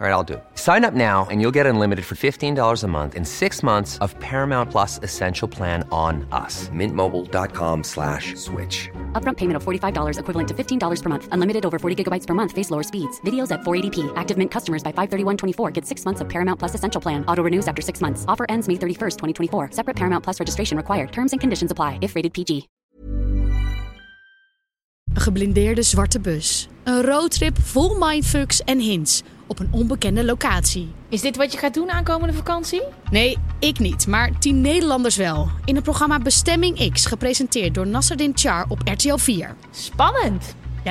All right, I'll do. it. Sign up now and you'll get unlimited for $15 a month in six months of Paramount Plus Essential Plan on us. Mintmobile.com slash switch. Upfront payment of $45 equivalent to $15 per month. Unlimited over 40 gigabytes per month. Face lower speeds. Videos at 480p. Active Mint customers by 531.24 get six months of Paramount Plus Essential Plan. Auto renews after six months. Offer ends May 31st, 2024. Separate Paramount Plus registration required. Terms and conditions apply if rated PG. Een geblindeerde zwarte bus. Een roadtrip vol mindfucks en hints op een onbekende locatie. Is dit wat je gaat doen aankomende vakantie? Nee, ik niet, maar tien Nederlanders wel. In het programma Bestemming X, gepresenteerd door Nasserdin Char op RTL 4. Spannend. Ja,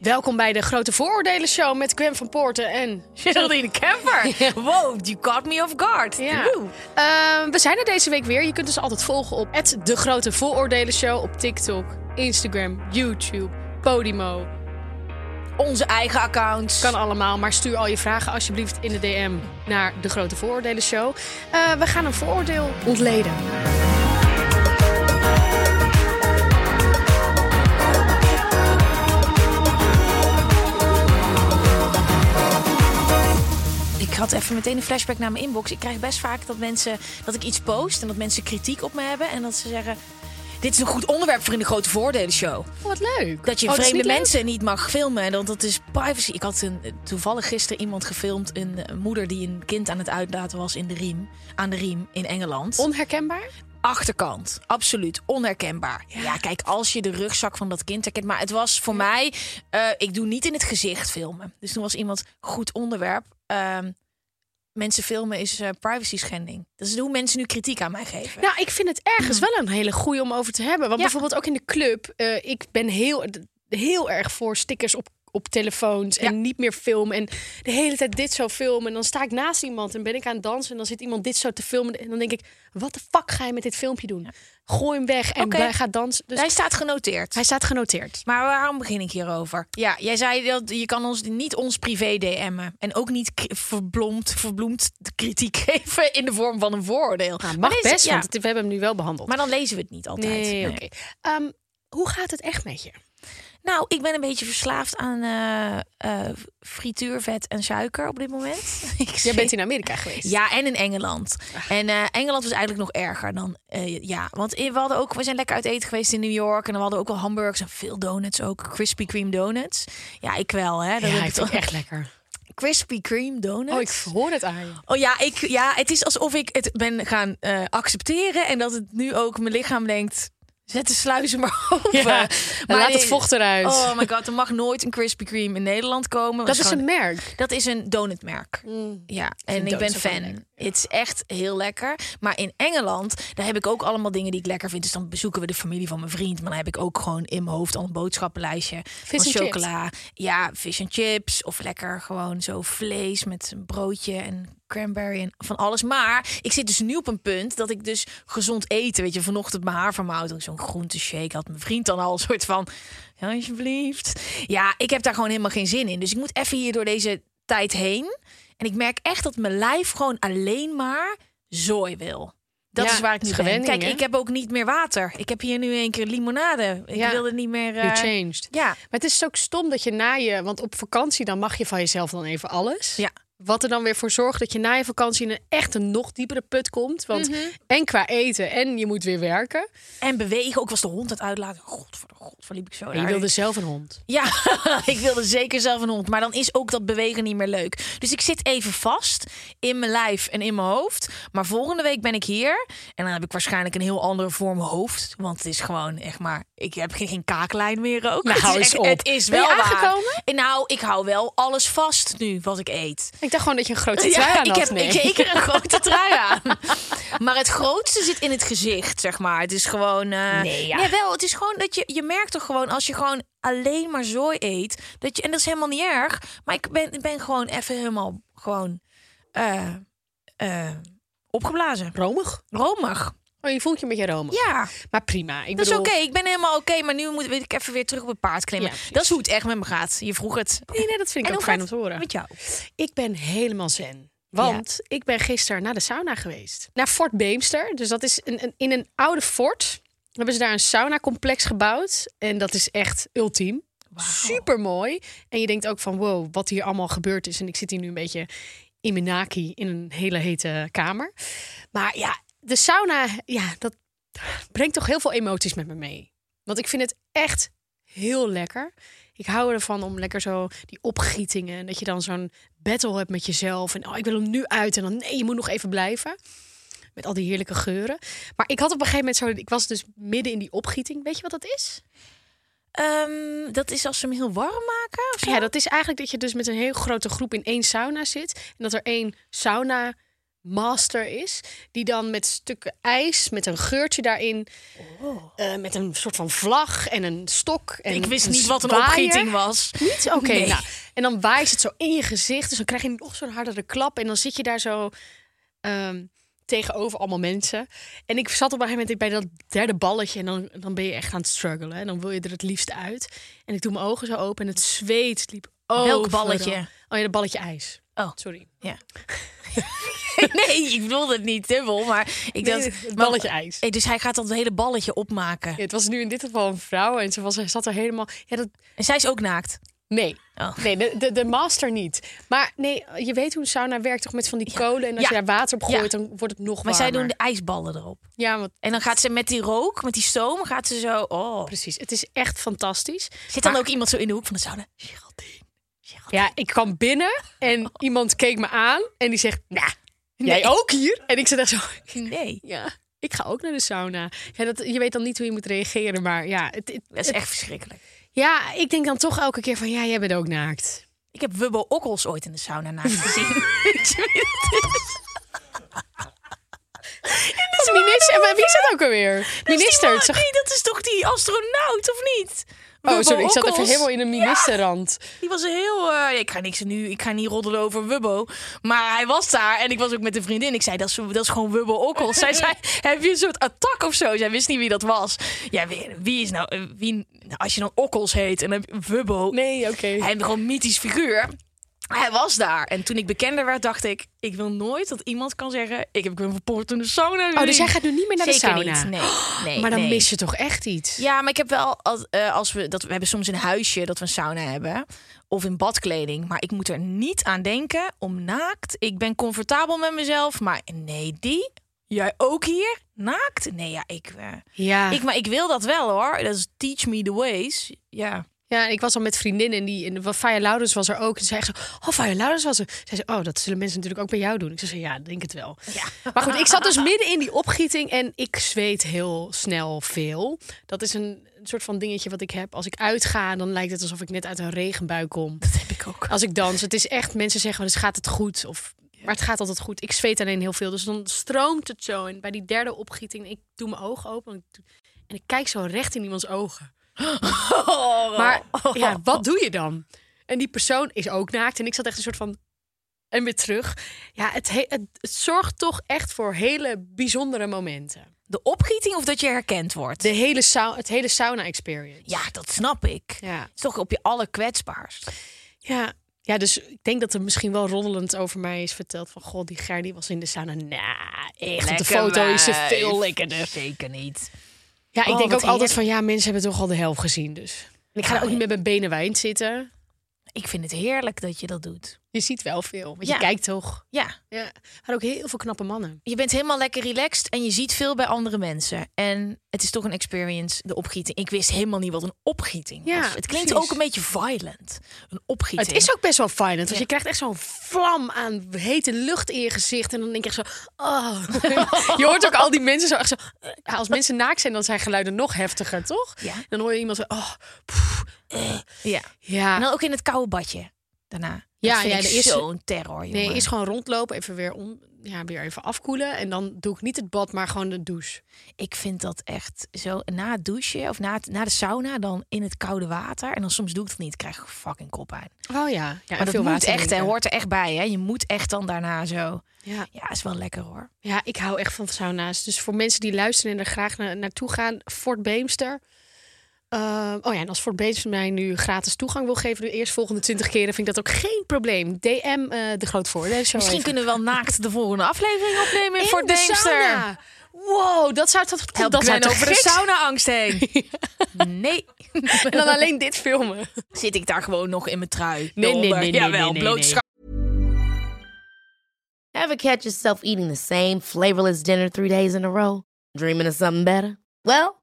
Welkom bij de Grote Vooroordelen Show met Gwen van Poorten en Geraldine Kemper. Wow, you caught me off guard. Ja. Ehm, we zijn er deze week weer. Je kunt ons altijd volgen op het De Grote Vooroordelen Show op TikTok, Instagram, YouTube, Podimo. Onze eigen accounts. Kan allemaal, maar stuur al je vragen alsjeblieft in de DM naar De Grote Vooroordelen Show. Eh, we gaan een vooroordeel ontleden. Ik had even meteen een flashback naar mijn inbox. Ik krijg best vaak dat mensen dat ik iets post en dat mensen kritiek op me hebben en dat ze zeggen: dit is een goed onderwerp voor in de grote voordelen show. Oh, wat leuk. Dat je Oh, is vreemde niet leuk? mensen niet mag filmen, want dat is privacy. Ik had een, toevallig gisteren iemand gefilmd, een eh, moeder die een kind aan het uitlaten was in de riem, aan de riem in Engeland. Onherkenbaar? achterkant. Absoluut onherkenbaar. Ja. kijk, als je de rugzak van dat kind herkent. Maar het was voor mij, eh, ik doe niet in het gezicht filmen. Dus toen was iemand goed onderwerp. Ehm, mensen filmen is eh, privacy schending. Dat is hoe mensen nu kritiek aan mij geven. Nou, ik vind het ergens wel een hele goeie om over te hebben. Want Ja. bijvoorbeeld ook in de club. eh, ik ben heel, d- heel erg voor stickers op, op telefoons. En Ja. niet meer filmen. En de hele tijd dit zo filmen. En dan sta ik naast iemand en ben ik aan het dansen. En dan zit iemand dit zo te filmen. En dan denk ik, wat de fuck ga je met dit filmpje doen? Gooi hem weg en Oké. wij gaan dansen. Dus Hij staat genoteerd. hij staat genoteerd. Maar waarom begin ik hierover? Ja, jij zei dat je kan ons niet ons privé DM'en. En ook niet k- verblomd, verbloemd de kritiek geven in de vorm van een vooroordeel. Nou, mag Maar deze- best, ja, want het- we hebben hem nu wel behandeld. Maar dan lezen we het niet altijd. nee, Nee. oké. Ehm, hoe gaat het echt met je? Nou, ik ben een beetje verslaafd aan eh, eh, frituurvet en suiker op dit moment. Ik Jij zweet- bent in Ah. Amerika geweest. ja, en in Engeland. En eh, Engeland was eigenlijk nog erger dan eh, ja. Want we, hadden ook, we zijn lekker uit eten geweest in New York. En we hadden ook wel hamburgers en veel donuts ook. Krispy Kreme donuts. Ja, ik wel. Hè. Dat Ja, heb ik ik vind toch- het echt lekker. Krispy Kreme donuts. Oh, ik hoor het aan je. Oh ja, ik, ja, het is alsof ik het ben gaan eh, accepteren. En dat het nu ook mijn lichaam denkt... Zet de sluizen maar open. Ja, maar laat het die- vocht eruit. Oh my god, er mag nooit een Krispy Kreme in Nederland komen. dat is gewoon- een merk. dat is een donutmerk. Ja, en vind ik ben donuts ook wel fan. lekker. Het is echt heel lekker. Maar in Engeland, daar heb ik ook allemaal dingen die ik lekker vind. Dus dan bezoeken we de familie van mijn vriend. Maar dan heb ik ook gewoon in mijn hoofd al een boodschappenlijstje. Vis van en chips. chocola. Ja, fish and chips. Of lekker gewoon zo vlees met een broodje en cranberry en van alles. Maar ik zit dus nu op een punt dat ik dus gezond eten. Weet je, vanochtend mijn haar van mijn auto. Zo'n groenteshake had mijn vriend dan al een soort van... "Ja, Alsjeblieft. Ja, ik heb daar gewoon helemaal geen zin in. Dus ik moet even hier door deze tijd heen. En ik merk echt dat mijn lijf gewoon alleen maar zooi wil. Dat Ja, is waar ik het nu is ben. gewenning, Kijk, hè? ik heb ook niet meer water. Ik heb hier nu een keer limonade. Ik Ja. wil het niet meer... eh, You changed. ja. Maar het is ook stom dat je na je... Want op vakantie dan mag je van jezelf dan even alles. Ja. Wat er dan weer voor zorgt dat je na je vakantie in een echt een nog diepere put komt. Want en qua eten en je moet weer werken. En bewegen. Ook was de hond het uitlaten. God voor de god, liep ik zo En je daar. wilde zelf een hond. Ja, ik wilde zeker zelf een hond. Maar dan is ook dat bewegen niet meer leuk. Dus ik zit even vast in mijn lijf en in mijn hoofd. Maar volgende week ben ik hier. En dan heb ik waarschijnlijk een heel andere vorm hoofd. Want het is gewoon echt maar... Ik heb geen, geen kaaklijn meer ook. Nou, het, hou is eens echt- op. het is Ben wel je waar. aangekomen? En nou, ik hou wel alles vast nu wat ik eet. Ik dacht gewoon dat je een grote trui Ja, aan ik had. heb nee. zeker een grote trui aan. Maar het grootste zit in het gezicht, zeg maar. Het is gewoon... eh, Nee, ja. wel, het is gewoon dat je... Je merkt toch gewoon, als je gewoon alleen maar zooi eet... Dat je, en dat is helemaal niet erg. Maar ik ben, ik ben gewoon even helemaal gewoon... eh, eh, opgeblazen. Romig. Romig. Oh, je voelt je een beetje romig. Ja, Maar prima. Ik dat is bedoel, oké. Ik ben helemaal oké. maar nu moet weet ik even weer terug op het paard klimmen. Ja, precies. dat is hoe het echt met me gaat. Je vroeg het. Nee, nee, dat vind ik En ook hoe fijn om gaat te horen. Met jou. Ik ben helemaal zen. Want ik ben gisteren naar de sauna geweest. Naar Fort Beemster. Dus dat is een, een- in een oude fort. Hebben ze daar een sauna-complex gebouwd. En dat is echt ultiem. Super mooi. En je denkt ook van wow, wat hier allemaal gebeurd is. En ik zit hier nu een beetje in mijn naki in een hele hete kamer. Maar ja, de sauna, ja, dat brengt toch heel veel emoties met me mee. Want ik vind het echt heel lekker. Ik hou ervan om lekker zo die opgietingen. En dat je dan zo'n battle hebt met jezelf. En oh, ik wil hem nu uit. En dan nee, je moet nog even blijven. Met al die heerlijke geuren. Maar ik had op een gegeven moment zo... Ik was dus midden in die opgieting. Weet je wat dat is? Ehm, dat is als ze hem heel warm maken of zo? Ja, dat is eigenlijk dat je dus met een heel grote groep in één sauna zit. En dat er één sauna master is. Die dan met stukken ijs, met een geurtje daarin. eh, met een soort van vlag en een stok. En Oh. Ik wist een niet wat een waaier. opgieting was. Niet? Oké. Nee. nou, en dan waait het zo in je gezicht. Dus dan krijg je nog zo'n hardere klap. En dan zit je daar zo ehm, tegenover allemaal mensen. En ik zat op een gegeven moment bij dat derde balletje. En dan, dan ben je echt aan het struggelen. En dan wil je er het liefst uit. En ik doe mijn ogen zo open. En het zweet liep over. Welk balletje? Oh ja, dat balletje ijs. Oh. Sorry. Ja. nee, ik bedoelde het niet dubbel, maar Nee, ik dacht... het balletje ijs. Hey, dus hij gaat dat hele balletje opmaken. Ja, het was nu in dit geval een vrouw. En ze was, ze zat er helemaal... Ja, dat, En zij is ook naakt. Nee. Oh. Nee, de, de, de master niet. Maar nee, je weet hoe een sauna werkt toch met van die kolen. En als Ja. je daar water op Ja. gooit, dan wordt het nog Maar warmer. zij doen de ijsballen erop. Ja, want En dan gaat ze met die rook, met die stoom, gaat ze zo... Oh. precies. Het is echt fantastisch. Zit dan Maar- ook iemand zo in de hoek van de sauna? Geraldine. Ja, ik kwam binnen en Oh. iemand keek me aan en die zegt, nou, jij ook hier? En ik zit echt zo, Nee. ja, ik ga ook naar de sauna. Ja, dat, je weet dan niet hoe je moet reageren, maar ja. Het, het- Dat is echt verschrikkelijk. ja, ik denk dan toch elke keer van, ja, jij bent ook naakt. Ik heb Wubbo Okkels ooit in de sauna naakt gezien. Weet je wie dat is? Dat is minister, maar wie is dat ook alweer? Dat is die Minister. man- het zag- Nee, dat is toch die astronaut, of niet? Oh, Wubbo sorry, ik zat even Okkels. helemaal in een ministerrand. Die was heel. eh, ik ga niks nu. Ik ga niet roddelen over Wubbo. Maar hij was daar en ik was ook met een vriendin. Ik zei: Dat is, dat is gewoon Wubbo Okkels. Zij zei: Heb je een soort attack of zo? Zij wist niet wie dat was. Ja, wie, wie is nou. eh, Wie, nou, als je dan Okkels heet en dan heb je Wubbo. Nee, oké. Hij heeft gewoon een mythisch figuur. Hij was daar. En toen ik bekender werd, dacht ik: Ik wil nooit dat iemand kan zeggen: Ik heb een verpoord in de sauna. Oh, dus gezien." jij gaat nu niet meer naar de Zeker sauna? niet. Nee, nee, maar dan nee. mis je toch echt iets? Ja, maar ik heb wel als, eh, als we dat we hebben soms een huisje dat we een sauna hebben of in badkleding, maar ik moet er niet aan denken om naakt. Ik ben comfortabel met mezelf, maar nee die. Jij ook hier naakt? Nee, ja, ik, eh, Ja. ik, maar ik wil dat wel hoor. Dat is teach me the ways. Ja. Ja, en ik was al met vriendinnen en die en Faya Laurens was er ook. En zei echt zo, oh, Faya Laurens was er. Zij zei, oh, dat zullen mensen natuurlijk ook bij jou doen. Ik zei, ja, ik denk het wel. Maar goed, ik zat dus midden in die opgieting en ik zweet heel snel veel. Dat is een soort van dingetje wat ik heb. Als ik uitga, dan lijkt het alsof ik net uit een regenbui kom. Dat heb ik ook. Als ik dans, het is echt, mensen zeggen, dus gaat het goed? Of, maar het gaat altijd goed. Ik zweet alleen heel veel, dus dan stroomt het zo. En bij die derde opgieting, ik doe mijn ogen open want ik doe- en ik kijk zo recht in iemands ogen. Maar ja, wat doe je dan? En die persoon is ook naakt. En ik zat echt een soort van. En weer terug. Ja, het, he- het, het zorgt toch echt voor hele bijzondere momenten. de opgieting of dat je herkend wordt. De hele sau- het hele sauna-experience. Ja, dat snap ik. Ja. Het is toch op je allerkwetsbaarst. ja. Ja, dus ik denk dat er misschien wel roddelend over mij is verteld van... Goh, die Ger die was in de sauna. Nou, echt, op de Lekker foto is ze wijf. veel lekkerder. Zeker niet. Ja, ik Oh, denk ook wat altijd van... Ja, mensen hebben toch al de helft gezien, dus... En ik ga er ook niet met mijn benen wijd zitten. Ik vind het heerlijk dat je dat doet. Je ziet wel veel, want Ja. je kijkt toch. Ja, Ja, maar ook heel veel knappe mannen. je bent helemaal lekker relaxed en je ziet veel bij andere mensen. En het is toch een experience, de opgieting. Ik wist helemaal niet wat een opgieting Ja, was. Het klinkt precies. ook een beetje violent. Een opgieting. Het is ook best wel fijn, want Ja. je krijgt echt zo'n vlam aan hete lucht in je gezicht. En dan denk je echt zo, oh. je hoort ook al die mensen zo echt zo. Ja, als mensen naakt zijn, dan zijn geluiden nog heftiger, toch? Ja. Dan hoor je iemand zo, oh. Ja. Ja, En dan ook in het koude badje. daarna. Ja, Ja, dat ja, vind er ik is- zo'n terror, jongen. Nee, is gewoon rondlopen, even weer, om, ja, weer even afkoelen. En dan doe ik niet het bad, maar gewoon de douche. Ik vind dat echt zo na het douchen of na, het, na de sauna dan in het koude water. En dan soms doe ik dat niet, krijg ik fucking kop aan. Oh ja, ja maar dat veel moet water echt, hè, drinken. hoort er echt bij. Hè? Je moet echt dan daarna zo. Ja. Ja, is wel lekker hoor. ja, ik hou echt van sauna's. Dus voor mensen die luisteren en er graag na- naartoe gaan, Fort Beemster. Ehm, oh ja, en als Fort Beemster mij nu gratis toegang wil geven... de eerstvolgende 20 keren, vind ik dat ook geen probleem. DM eh, de groot voordeel. Misschien kunnen we wel naakt de volgende aflevering opnemen in Fort de Beemster. sauna. Wow, dat zou toch Help dat zou Gwen toch over de gek zijn? saunaangst heen. Nee. En dan alleen dit filmen. Zit ik daar gewoon nog in mijn trui? nee, eronder? nee, nee, Jawel, nee, nee, bloot nee. scha- Ever catch yourself eating the same flavorless dinner three days in a row? Dreaming of something better? Well,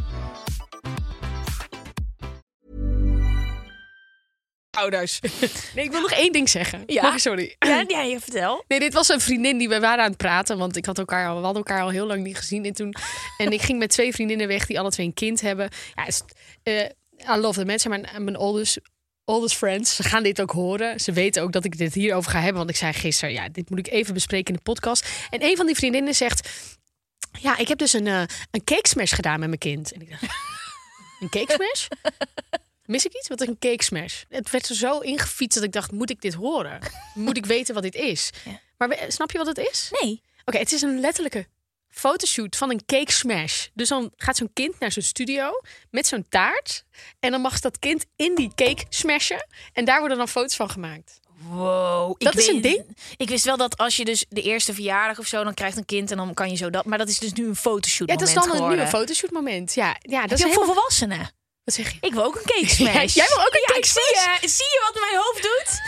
ouders. Nee, ik wil nog één ding zeggen. Ja? Mag ik- sorry. Ja, ja, je vertel. Nee, dit was een vriendin die we waren aan het praten. Want ik had elkaar al, we hadden elkaar al heel lang niet gezien. En, toen, en ik ging met twee vriendinnen weg die alle twee een kind hebben. Ja, is, eh, I love the mensen, maar mijn oldest, oldest friends. Ze gaan dit ook horen. Ze weten ook dat ik dit hierover ga hebben. Want ik zei gisteren, ja, dit moet ik even bespreken in de podcast. En een van die vriendinnen zegt... Ja, ik heb dus een, eh, een cake smash gedaan met mijn kind. En ik dacht, een cake smash? Mis ik iets? Wat is een cake smash? Het werd er zo ingefietst dat ik dacht, moet ik dit horen? Moet ik weten wat dit is? Maar we- eh, snap je wat het is? Nee. Oké, het is een letterlijke fotoshoot van een cake smash. Dus dan gaat zo'n kind naar zo'n studio met zo'n taart. En dan mag dat kind in die cake smashen. En daar worden dan foto's van gemaakt. Wow. Dat is een ding? Ik wist wel dat als je dus de eerste verjaardag of zo, dan krijgt een kind en dan kan je zo dat. Maar dat is dus nu een fotoshoot. Ja, dat is dan een geworden. nieuwe fotoshootmoment. Ja, ja dat Dat is is helemaal... voor volwassenen. Wat zeg je? Ik wil ook een cake smash. Ja, jij wil ook een Ja, cake ik zie smash? je- Zie je wat mijn hoofd doet?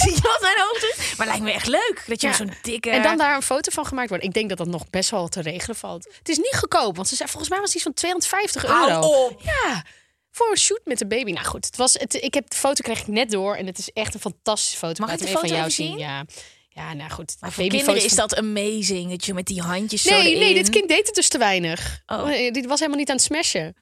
zie je wat mijn hoofd doet? Maar lijkt me echt leuk dat je Ja. zo'n dikke... Nou, En dan daar een foto van gemaakt wordt. Ik denk dat dat nog best wel te regelen valt. Het is niet goedkoop, want ze zei, volgens mij was die van 250 Hou euro. op. Ja, voor een shoot met een baby. Nou goed, het was, het, ik heb de foto kreeg ik net door en het is echt een fantastische foto. Mag ik Laat de hem even foto van jou even zien? Ja, ja nou goed. Maar voor babyfoto's kinderen is van- dat amazing. Dat je met die handjes zo Nee, nee, erin. dit kind deed het dus te weinig. Oh. Eh, Dit was helemaal niet aan het smashen.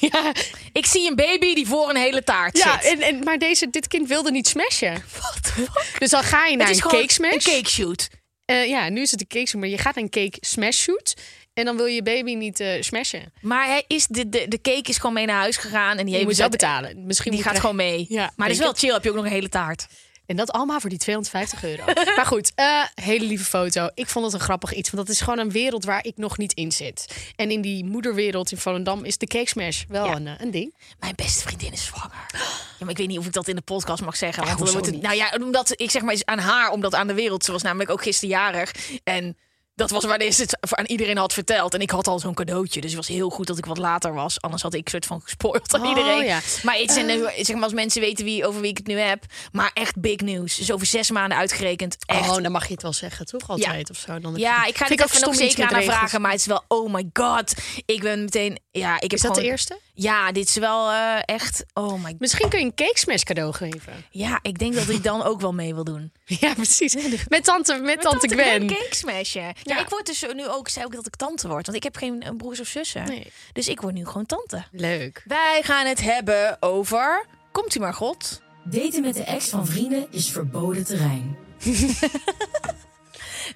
Ja, Ik zie een baby die voor een hele taart ja zit. en, en, maar deze, dit kind wilde niet smashen. What the fuck? Dus dan ga je naar het is een gewoon cake smash. een cake shoot. Eh, ja, nu is het een cake shoot, maar je gaat naar een cake smash shoot. En dan wil je baby niet eh, smashen. Maar hij is de, de, de cake is gewoon mee naar huis gegaan. En die Je heeft moet dus wel betalen. Misschien Die moet gaat je- gewoon mee. Ja, maar het is denk wel chill. Heb je ook nog een hele taart. En dat allemaal voor die 250 euro. maar goed, eh, hele lieve foto. Ik vond het een grappig iets. Want dat is gewoon een wereld waar ik nog niet in zit. En in die moederwereld in Volendam is de cake smash wel Ja. een, eh, een ding. Mijn beste vriendin is zwanger. Ja, maar ik weet niet of ik dat in de podcast mag zeggen. Want dan hoezo wordt het, niet? nou ja, omdat ik zeg maar eens aan haar, omdat aan de wereld. Ze was namelijk ook gisterjarig. En dat was wanneer ze het aan iedereen had verteld. En ik had al zo'n cadeautje. Dus het was heel goed dat ik wat later was. Anders had ik soort van gespoild aan Oh, iedereen. ja. Maar het zijn, eh, zeg maar als mensen weten wie, over wie ik het nu heb. Maar echt big news. Dus over zes maanden uitgerekend. Echt. Oh, dan mag je het wel zeggen, toch? Altijd of zo. Dan ja, ik ga Vind dit dat even nog stom iets zeker aan met haar regels. vragen. Maar het is wel, oh my god. Ik ben meteen, ja, ik heb Is dat de gewoon- eerste? Ja, dit is wel eh, echt, oh my Misschien kun je een cake smash cadeau geven. Ja, ik denk dat ik dan ook wel mee wil doen. Ja, precies. Met tante, met tante, Gwen. cake smashen. Ja. Ja. ik word dus nu ook, zei ook dat ik tante word. Want ik heb geen eh, broers of zussen. Nee. Dus ik word nu gewoon tante. Leuk. Wij gaan het hebben over... Komt u maar, God. Daten met de ex van vrienden is verboden terrein.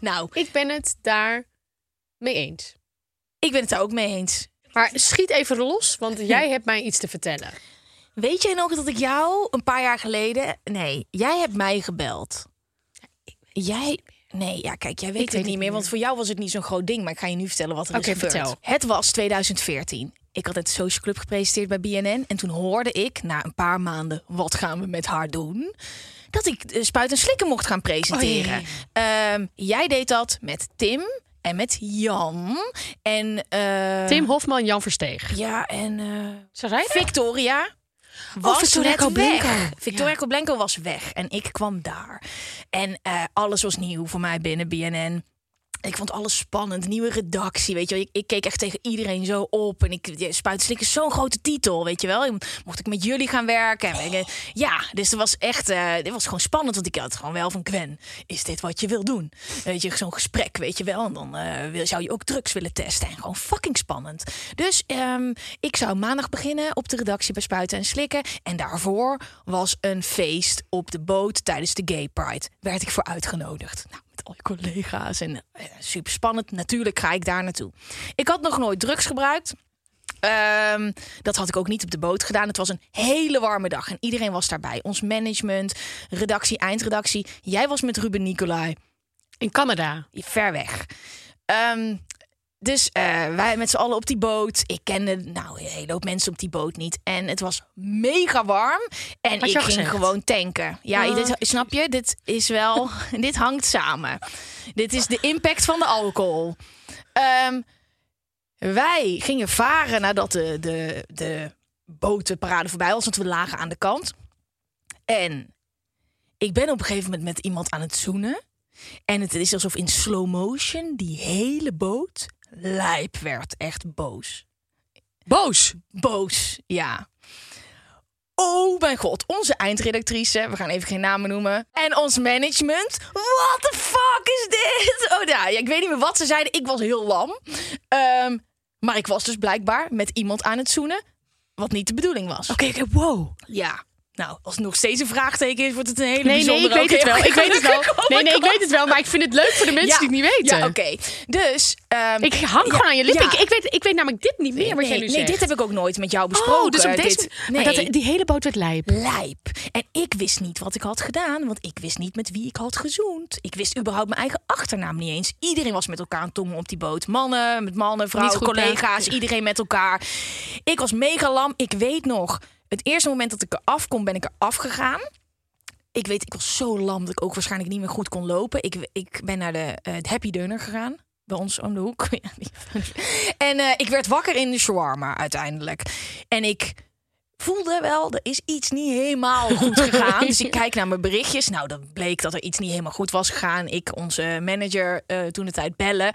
Nou, Ik ben het daar mee eens. ik ben het daar ook mee eens. Maar schiet even los, want jij hebt mij iets te vertellen. Weet jij nog dat ik jou een paar jaar geleden... Nee, jij hebt mij gebeld. Jij... Nee, ja, kijk, jij weet weet het niet het meer, meer. Want voor jou was het niet zo'n groot ding. Maar ik ga je nu vertellen wat er Oké, is gebeurd. vertel. Het was 2014. Ik had het Social Club gepresenteerd bij BNN. En toen hoorde ik, na een paar maanden, wat gaan we met haar doen? Dat ik eh, Spuit en Slikken mocht gaan presenteren. Ehm, jij deed dat met Tim en met Jan. En, eh, Tim Hofman, Jan Versteeg. Ja, en... eh, Ze rijden? Victoria was Victoria net Koblenko. weg. Victoria Koblenko was weg en ik kwam daar. En eh, alles was nieuw voor mij binnen BNN. Ik vond alles spannend. Nieuwe redactie, weet je wel. Ik, ik keek echt tegen iedereen zo op. En ik ja, spuiten slikken is zo'n grote titel, weet je wel. En Mocht ik met jullie gaan werken? En weet je- Ja, dus het was echt... eh dit was gewoon spannend, want ik had gewoon wel van... Gwen, is dit wat je wil doen? Weet je, zo'n gesprek, weet je wel. En dan eh, wil, zou je ook drugs willen testen. En gewoon fucking spannend. Dus ehm, ik zou maandag beginnen op de redactie bij Spuiten en Slikken. En daarvoor was een feest op de boot tijdens de Gay Pride. Werd ik voor uitgenodigd. Nou, met al je collega's. En super spannend. Natuurlijk ga ik daar naartoe. Ik had nog nooit drugs gebruikt. Ehm, dat had ik ook niet op de boot gedaan. Het was een hele warme dag en iedereen was daarbij. Ons management, redactie, eindredactie. Jij was met Ruben Nicolai In Canada. ver weg. Ehm, dus eh, wij met z'n allen op die boot. Ik kende nou een hele hoop mensen op die boot niet. En het was mega warm. Had En je ik al ging gezegd? gewoon tanken. Ja, Oh. dit, snap je? Dit is wel. dit hangt samen. Dit is de impact van de alcohol. Ehm, wij gingen varen nadat de, de, de botenparade voorbij was. Want we lagen aan de kant. En ik ben op een gegeven moment met iemand aan het zoenen. En het is alsof in slow motion die hele boot lijp werd. Echt boos. Boos. Boos, ja. Oh mijn god, onze eindredactrice, we gaan even geen namen noemen. En ons management. What the fuck is dit? Oh ja, ja, ik weet niet meer wat ze zeiden. Ik was heel lam. Ehm, maar ik was dus blijkbaar met iemand aan het zoenen. Wat niet de bedoeling was. Oké, oké, wow. Ja. Nou, als het nog steeds een vraagteken is, wordt het een hele Nee, nee, bijzondere... ik weet Oké, het wel. oké, Ik weet het wel. gelukkig. Oh Nee, my nee, ik God. weet het wel. Maar ik vind het leuk voor de mensen die het niet weten. Ja, oké. Dus... ehm, Ik hang ja, gewoon aan je lippen. ja. Ik, ik, weet, ik weet namelijk dit niet meer wat nee, jij nu nee, zegt. dit heb ik ook nooit met jou besproken. Oh, dus op deze... Dit- Maar nee, dat, die hele boot werd lijp. lijp. En ik wist niet wat ik had gedaan, want ik wist niet met wie ik had gezoend. Ik wist überhaupt mijn eigen achternaam niet eens. Iedereen was met elkaar aan tongen op die boot. Mannen, met mannen, vrouwen, goed, hè? collega's, iedereen met elkaar. Ik was mega lam. Ik weet nog, het eerste moment dat ik er afkom, ben ik er afgegaan. Ik weet, ik was zo lam dat ik ook waarschijnlijk niet meer goed kon lopen. Ik, ik ben naar de eh, Happy Dunner gegaan. Bij ons om de hoek. Ja, die- en eh, ik werd wakker in de shawarma uiteindelijk. En ik voelde wel, er is iets niet helemaal goed gegaan. dus ik kijk naar mijn berichtjes. Nou, dan bleek dat er iets niet helemaal goed was gegaan. Ik onze manager eh, toen de tijd bellen.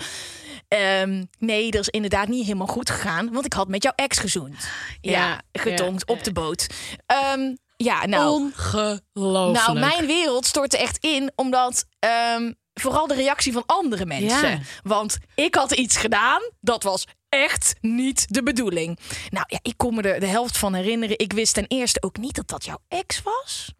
Ehm, nee, dat is inderdaad niet helemaal goed gegaan. Want ik had met jouw ex gezoend. Ja, Ja, getongd ja, Oh, op de boot. Ehm, ja, nou... Ongelooflijk. Nou, mijn wereld stortte echt in, omdat ehm, vooral de reactie van andere mensen. Ja. Want ik had iets gedaan, dat was echt niet de bedoeling. Nou ja, ik kon me er de helft van herinneren. Ik wist ten eerste ook niet dat dat jouw ex was.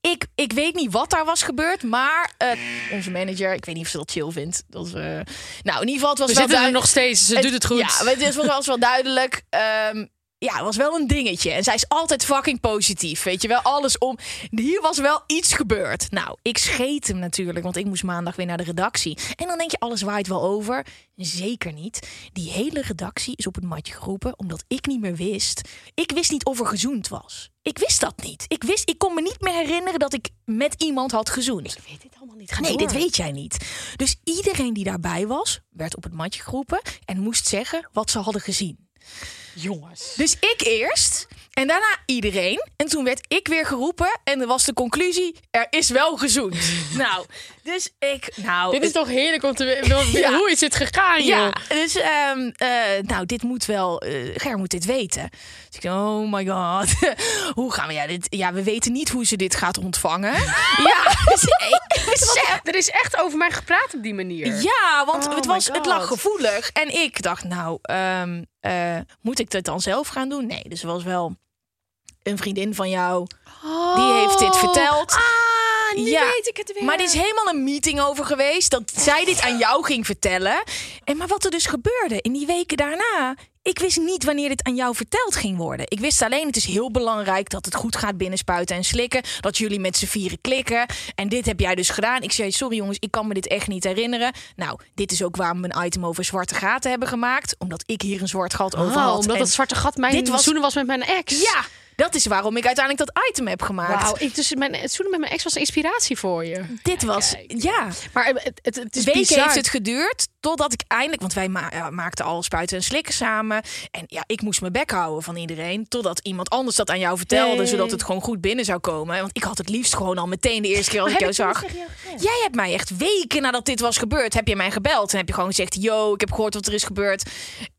Ik, ik weet niet wat daar was gebeurd, maar eh, onze manager, ik weet niet of ze dat chill vindt. Dat we, nou, in ieder geval, het was We zitten wel er duidelijk- nog steeds. Ze doet het goed. ja, maar het was wel, was wel duidelijk. ehm, ja, het was wel een dingetje. En zij is altijd fucking positief. Weet je wel, alles om. Hier was wel iets gebeurd. Nou, ik scheet hem natuurlijk, want ik moest maandag weer naar de redactie. En dan denk je, alles waait wel over. Zeker niet. Die hele redactie is op het matje geroepen, omdat ik niet meer wist. Ik wist niet of er gezoend was. Ik wist dat niet. Ik, wist, ik kon me niet meer herinneren dat ik met iemand had gezoend. Ah, Nee, dit weet jij niet. Dus iedereen die daarbij was, werd op het matje geroepen en moest zeggen wat ze hadden gezien. jongens. Dus ik eerst en daarna iedereen. En toen werd ik weer geroepen en er was de conclusie: er is wel gezoend. nou, dus ik. Nou, Dit is het- toch heerlijk om te weten. Ja. Hoe is dit gegaan, ja, joh? dus ehm, eh, nou, dit moet wel. eh, Ger moet dit weten. Dus ik dacht, oh my god, hoe gaan we? Ja, dit, ja, we weten niet hoe ze dit gaat ontvangen. ja, dus ik besef- Er is echt over mij gepraat op die manier. Ja, want Oh het, my was, het lag God. gevoelig. En ik dacht, nou, ehm, eh, moet ik dit dan zelf gaan doen? Nee, dus er was wel een vriendin van jou. Die heeft dit verteld. Oh, Ah, nu Ja, weet ik het weer. Maar er is helemaal een meeting over geweest dat zij dit aan jou ging vertellen. En maar wat er dus gebeurde in die weken daarna. Ik wist niet wanneer dit aan jou verteld ging worden. Ik wist alleen, het is heel belangrijk dat het goed gaat binnen spuiten en slikken. Dat jullie met z'n vieren klikken. En dit heb jij dus gedaan. Ik zei, sorry jongens, ik kan me dit echt niet herinneren. Nou, dit is ook waarom we een item over zwarte gaten hebben gemaakt. Omdat ik hier een zwart gat over Oh, had. omdat En- dat zwarte gat mijn Dit was- zoenen was met mijn ex. ja, Dat is waarom ik uiteindelijk dat item heb gemaakt. Wauw, ik, dus mijn, het zoenen met mijn ex was een inspiratie voor je. Dit was, Kijk. ja. Maar het, het, het is Weken bizar. heeft het geduurd totdat ik eindelijk, want wij ma- ja, maakten al spuiten en slikken samen. En ja, ik moest mijn bek houden van iedereen. Totdat iemand anders dat aan jou vertelde, Nee. zodat het gewoon goed binnen zou komen. Want ik had het liefst gewoon al meteen de eerste keer als ik Maar jou heb zag. ik toen tegen jou Jij hebt mij echt weken nadat dit was gebeurd, heb je mij gebeld. En heb je gewoon gezegd, yo, ik heb gehoord wat er is gebeurd.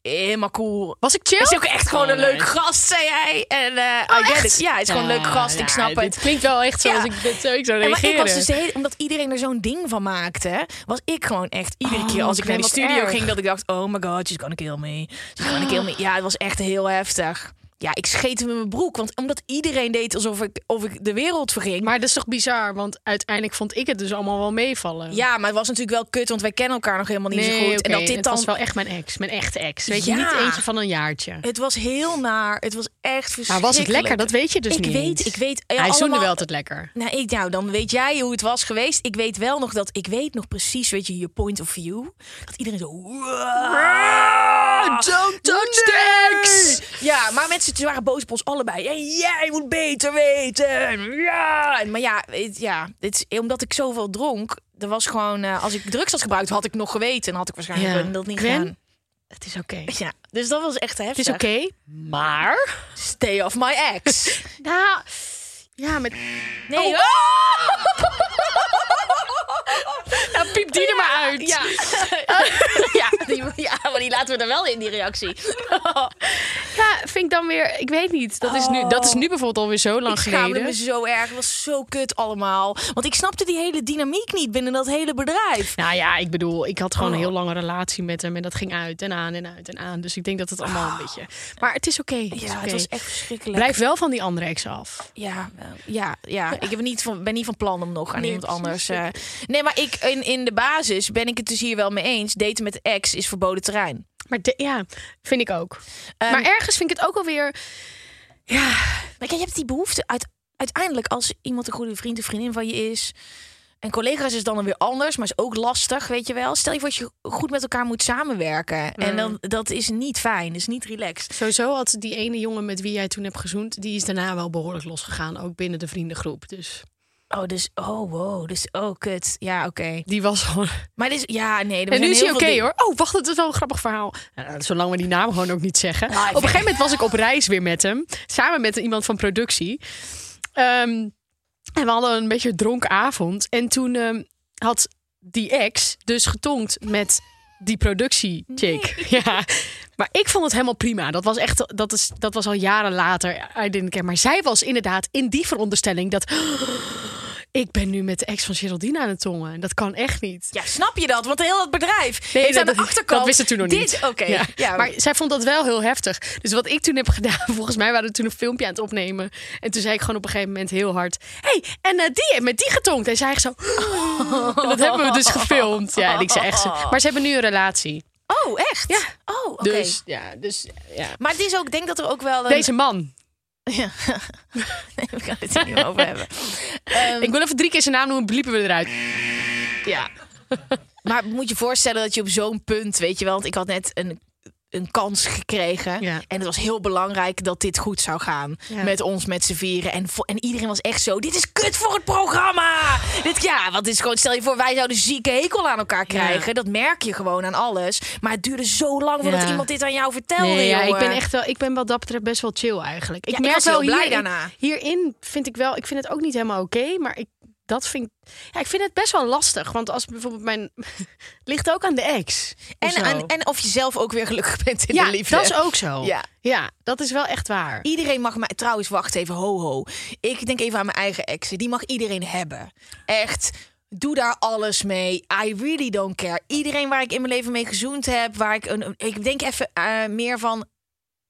Helemaal cool. Was ik chill? Is ook echt gewoon Oh, een leuk nice. gast, zei jij. En, eh, I get it. Ja, hij is gewoon een leuk gast, ik snap het. het. Dit klinkt wel echt zoals Ja. ik dit zo, ik zou En maar reageren. ik was dus de hele, omdat iedereen er zo'n ding van maakte, was ik gewoon echt iedere Oh, keer als ik naar die wat studio erg. ging, dat ik dacht: oh my god, she's gonna kill me. She's gonna kill me. Ja, het was echt heel heftig. Ja, ik scheet hem in mijn broek, want omdat iedereen deed alsof ik, of ik de wereld verging. Maar dat is toch bizar, want uiteindelijk vond ik het dus allemaal wel meevallen. ja, maar het was natuurlijk wel kut, want wij kennen elkaar nog helemaal niet nee, zo goed. en dat dit het dan. was wel echt mijn ex, mijn echte ex. Weet je, Ja. niet eentje van een jaartje. Het was heel naar. Het was echt verschrikkelijk. Maar was het lekker? Dat weet je dus ik niet. Weet, ik weet, ja, Hij zoende allemaal- wel altijd lekker. Nou, ik, nou, dan weet jij hoe het was geweest. Ik weet wel nog dat ik weet nog precies, weet je, je point of view. Dat iedereen zo. Don't touch ex! Ja, maar mensen ze waren boos op ons allebei. En jij moet beter weten. Ja, maar ja, het, ja het is, omdat ik zoveel dronk, er was gewoon, eh, als ik drugs had gebruikt, had ik nog geweten en had ik waarschijnlijk Ja. dat niet Gwen? gedaan. Het is oké. Ja, dus dat was echt heftig. Het is oké, maar... Stay off my ex. Nou, ja, met... Nee. Oh. Nou, piep die er maar uit. Ja. ja, die, ja, maar die laten we er wel in, die reactie. Ja, vind ik dan weer... Ik weet niet. Dat is nu, dat is nu bijvoorbeeld alweer zo lang Ik schaamde geleden. me zo erg. Het was zo kut allemaal. Want ik snapte die hele dynamiek niet binnen dat hele bedrijf. Nou ja, ik bedoel, ik had gewoon Oh. een heel lange relatie met hem. En dat ging uit en aan en uit en aan. Dus ik denk dat het allemaal een beetje... Maar het is oké. het Ja, is het oké. was echt verschrikkelijk. Blijf wel van die andere ex af. Ja, eh, ja, ja. ik heb niet van, ben niet van plan om nog aan Nee, iemand precies. anders... eh, nee, maar ik, in, in de basis ben ik het dus hier wel mee eens. Daten met de ex is verboden terrein. Maar de- ja, vind ik ook. maar ergens vind ik het ook alweer... Maar kijk, je hebt die behoefte uit, uiteindelijk als iemand een goede vriend of vriendin van je is. En collega's is dan dan weer anders, maar is ook lastig, weet je wel. Stel je voor dat je goed met elkaar moet samenwerken. En dan, dat is niet fijn, is niet relaxed. Sowieso had die ene jongen met wie jij toen hebt gezoend... die is daarna wel behoorlijk losgegaan. Ook binnen de vriendengroep. Dus Oh, dus, oh wow, dus, oh kut. Ja, oké. die was gewoon... Maar dus, ja, nee. er En nu zijn is heel hij oké veel dingen- hoor. Oh, wacht, het is wel een grappig verhaal. Nou, zolang we die naam gewoon ook niet zeggen. ik op een gegeven moment was ik op reis weer met hem. Samen met iemand van productie. Ehm, en we hadden een beetje een dronken avond. En toen ehm, had die ex dus getonkt met die productiechick. Ja. Maar ik vond het helemaal prima. Dat was, echt, dat is, dat was al jaren later. I didn't care. Maar zij was inderdaad in die veronderstelling dat... ik ben nu met de ex van Geraldine aan het tongen. En dat kan echt niet. Ja, snap je dat? Want heel dat bedrijf Nee, heeft dat, aan de dat- achterkant... dat wist ze toen nog niet. Dit, oké. Ja. Ja. Maar zij vond dat wel heel heftig. Dus wat ik toen heb gedaan, volgens mij waren we toen een filmpje aan het opnemen. En toen zei ik gewoon op een gegeven moment heel hard... hey, en eh, die heeft met die getonkt. En zij echt zo... En dat hebben we dus gefilmd. Ja, en ik zei echt zo... Maar ze hebben nu een relatie. Oh, echt? Ja. Oh, oké. Dus ja, dus ja. Maar het is ook, ik denk dat er ook wel... Een... Deze man. Ja. nee, we gaan het hier niet meer over hebben. Ehm, Ik wil even drie keer zijn naam noemen, bliepen we eruit. Ja. Maar moet je voorstellen dat je op zo'n punt, weet je wel, want ik had net een, een kans gekregen. Ja. En het was heel belangrijk dat dit goed zou gaan. Ja. Met ons, met z'n vieren. En, vo- en iedereen was echt zo, dit is kut voor het programma. dit, ja, want het is gewoon, stel je voor, wij zouden zieke hekel aan elkaar krijgen. Dat merk je gewoon aan alles. Maar het duurde zo lang voordat Ja. iemand dit aan jou vertelde. Nee, ja, ik jongen. ben echt wel, ik ben wat dat betreft best wel chill eigenlijk. Ik Ja, ik merk was wel heel blij hierin- daarna. Hierin vind ik wel, ik vind het ook niet helemaal oké, maar ik dat vind, ja, ik vind het best wel lastig, want als bijvoorbeeld mijn ligt ook aan de ex. of En, zo. en, en of je zelf ook weer gelukkig bent in ja, de liefde. dat is ook zo. Ja. ja, dat is wel echt waar. Iedereen mag mij... Trouwens, wacht even, ho ho. Ik denk even aan mijn eigen exen. Die mag iedereen hebben. Echt, doe daar alles mee. I really don't care. Iedereen waar ik in mijn leven mee gezoend heb, waar ik... Een, ik denk even eh, meer van...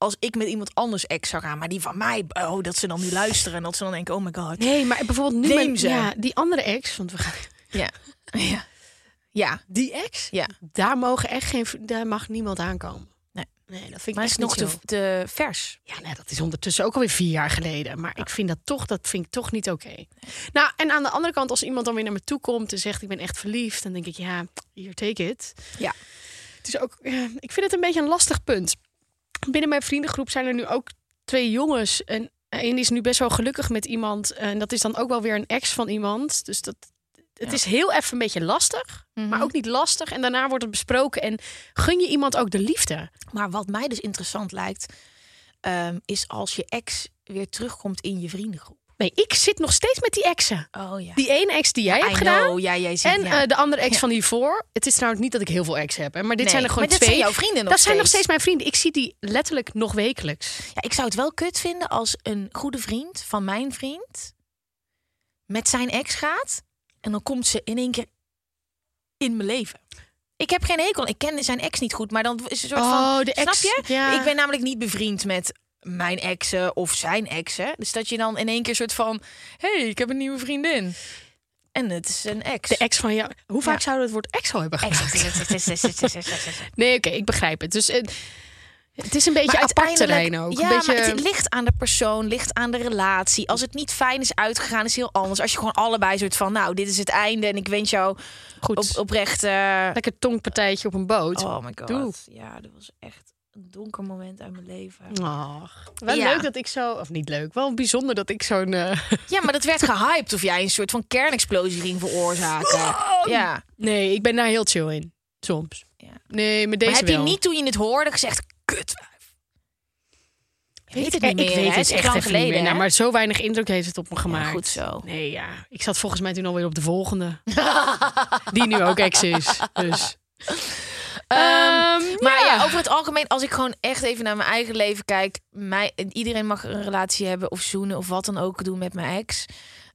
Als ik met iemand anders ex zou gaan, maar die van mij... Oh, dat ze dan nu luisteren en dat ze dan denken... Oh my god. Nee, maar bijvoorbeeld nu Neem mijn- ze. ja, die andere ex, want we gaan Ja. Ja. Ja. die ex, Ja. daar mogen echt geen, daar mag niemand aankomen. Nee. nee dat vind Maar ik het echt is nog niet te, zo. te vers. Ja, nee, dat is ondertussen ook alweer vier jaar geleden. Maar ik vind dat toch, dat vind ik toch niet oké. Nou, en aan de andere kant, als iemand dan weer naar me toe komt en zegt ik ben echt verliefd, dan denk ik, ja, hier take it. Ja. Het is ook, eh, ik vind het een beetje een lastig punt. Binnen mijn vriendengroep zijn er nu ook twee jongens en eh, En die is nu best wel gelukkig met iemand. Eh, En dat is dan ook wel weer een ex van iemand. Dus dat, het is heel even een beetje lastig. Maar ook niet lastig. En daarna wordt het besproken. En gun je iemand ook de liefde? Maar wat mij dus interessant lijkt, ehm, is als je ex weer terugkomt in je vriendengroep. Nee, ik zit nog steeds met die exen. Oh ja. Die ene ex die jij hebt I gedaan. know, ja, jij ziet, en ja. eh, de andere ex van hiervoor. Het is trouwens niet dat ik heel veel ex heb. Hè, maar dit Nee, zijn er gewoon maar dit twee. zijn jouw vrienden nog dat zijn nog steeds. steeds mijn vrienden. Ik zie die letterlijk nog wekelijks. Ja, ik zou het wel kut vinden als een goede vriend van mijn vriend met zijn ex gaat en dan komt ze in één keer in mijn leven. Ik heb geen hekel. Ik ken zijn ex niet goed, maar dan is het een soort Oh, van. de snap ex, je? ja. Ik ben namelijk niet bevriend met mijn exen of zijn exen. Dus dat je dan in één keer soort van, hey, ik heb een nieuwe vriendin en het is een ex. De ex van jou. Hoe vaak Ja. zouden we het woord ex al hebben Ex. gebruikt? Nee, oké, ik begrijp het. Dus eh, het is een beetje Maar apart terrein uiteindelijk- ook. Ja, een beetje... maar het ligt aan de persoon, ligt aan de relatie. Als het niet fijn is uitgegaan, is het heel anders. Als je gewoon allebei soort van, nou, dit is het einde en ik wens jou Goed. op, oprecht. eh, Lekker tongpartijtje op een boot. oh my god. Doe. Ja, dat was echt een donker moment uit mijn leven. Ach, wel Ja. leuk dat ik zo... Of niet leuk, wel bijzonder dat ik zo'n... eh, Ja, maar dat werd gehyped of jij een soort van kernexplosie ging veroorzaken. Ja. Nee, ik ben daar heel chill in. Soms. Ja. Nee, met deze Maar heb je wel. niet toen je het hoorde gezegd, kut. Weet het eh, niet meer, ik hè? weet Het het echt is echt lang even niet geleden, meer. Nou, hè? maar zo weinig indruk heeft het op me gemaakt. goed zo. Nee, ja. Ik zat volgens mij toen alweer op de volgende. Die nu ook ex is. Dus. Ehm, Maar ja. over het algemeen, als ik gewoon echt even naar mijn eigen leven kijk, mij, iedereen mag een relatie hebben of zoenen of wat dan ook doen met mijn ex.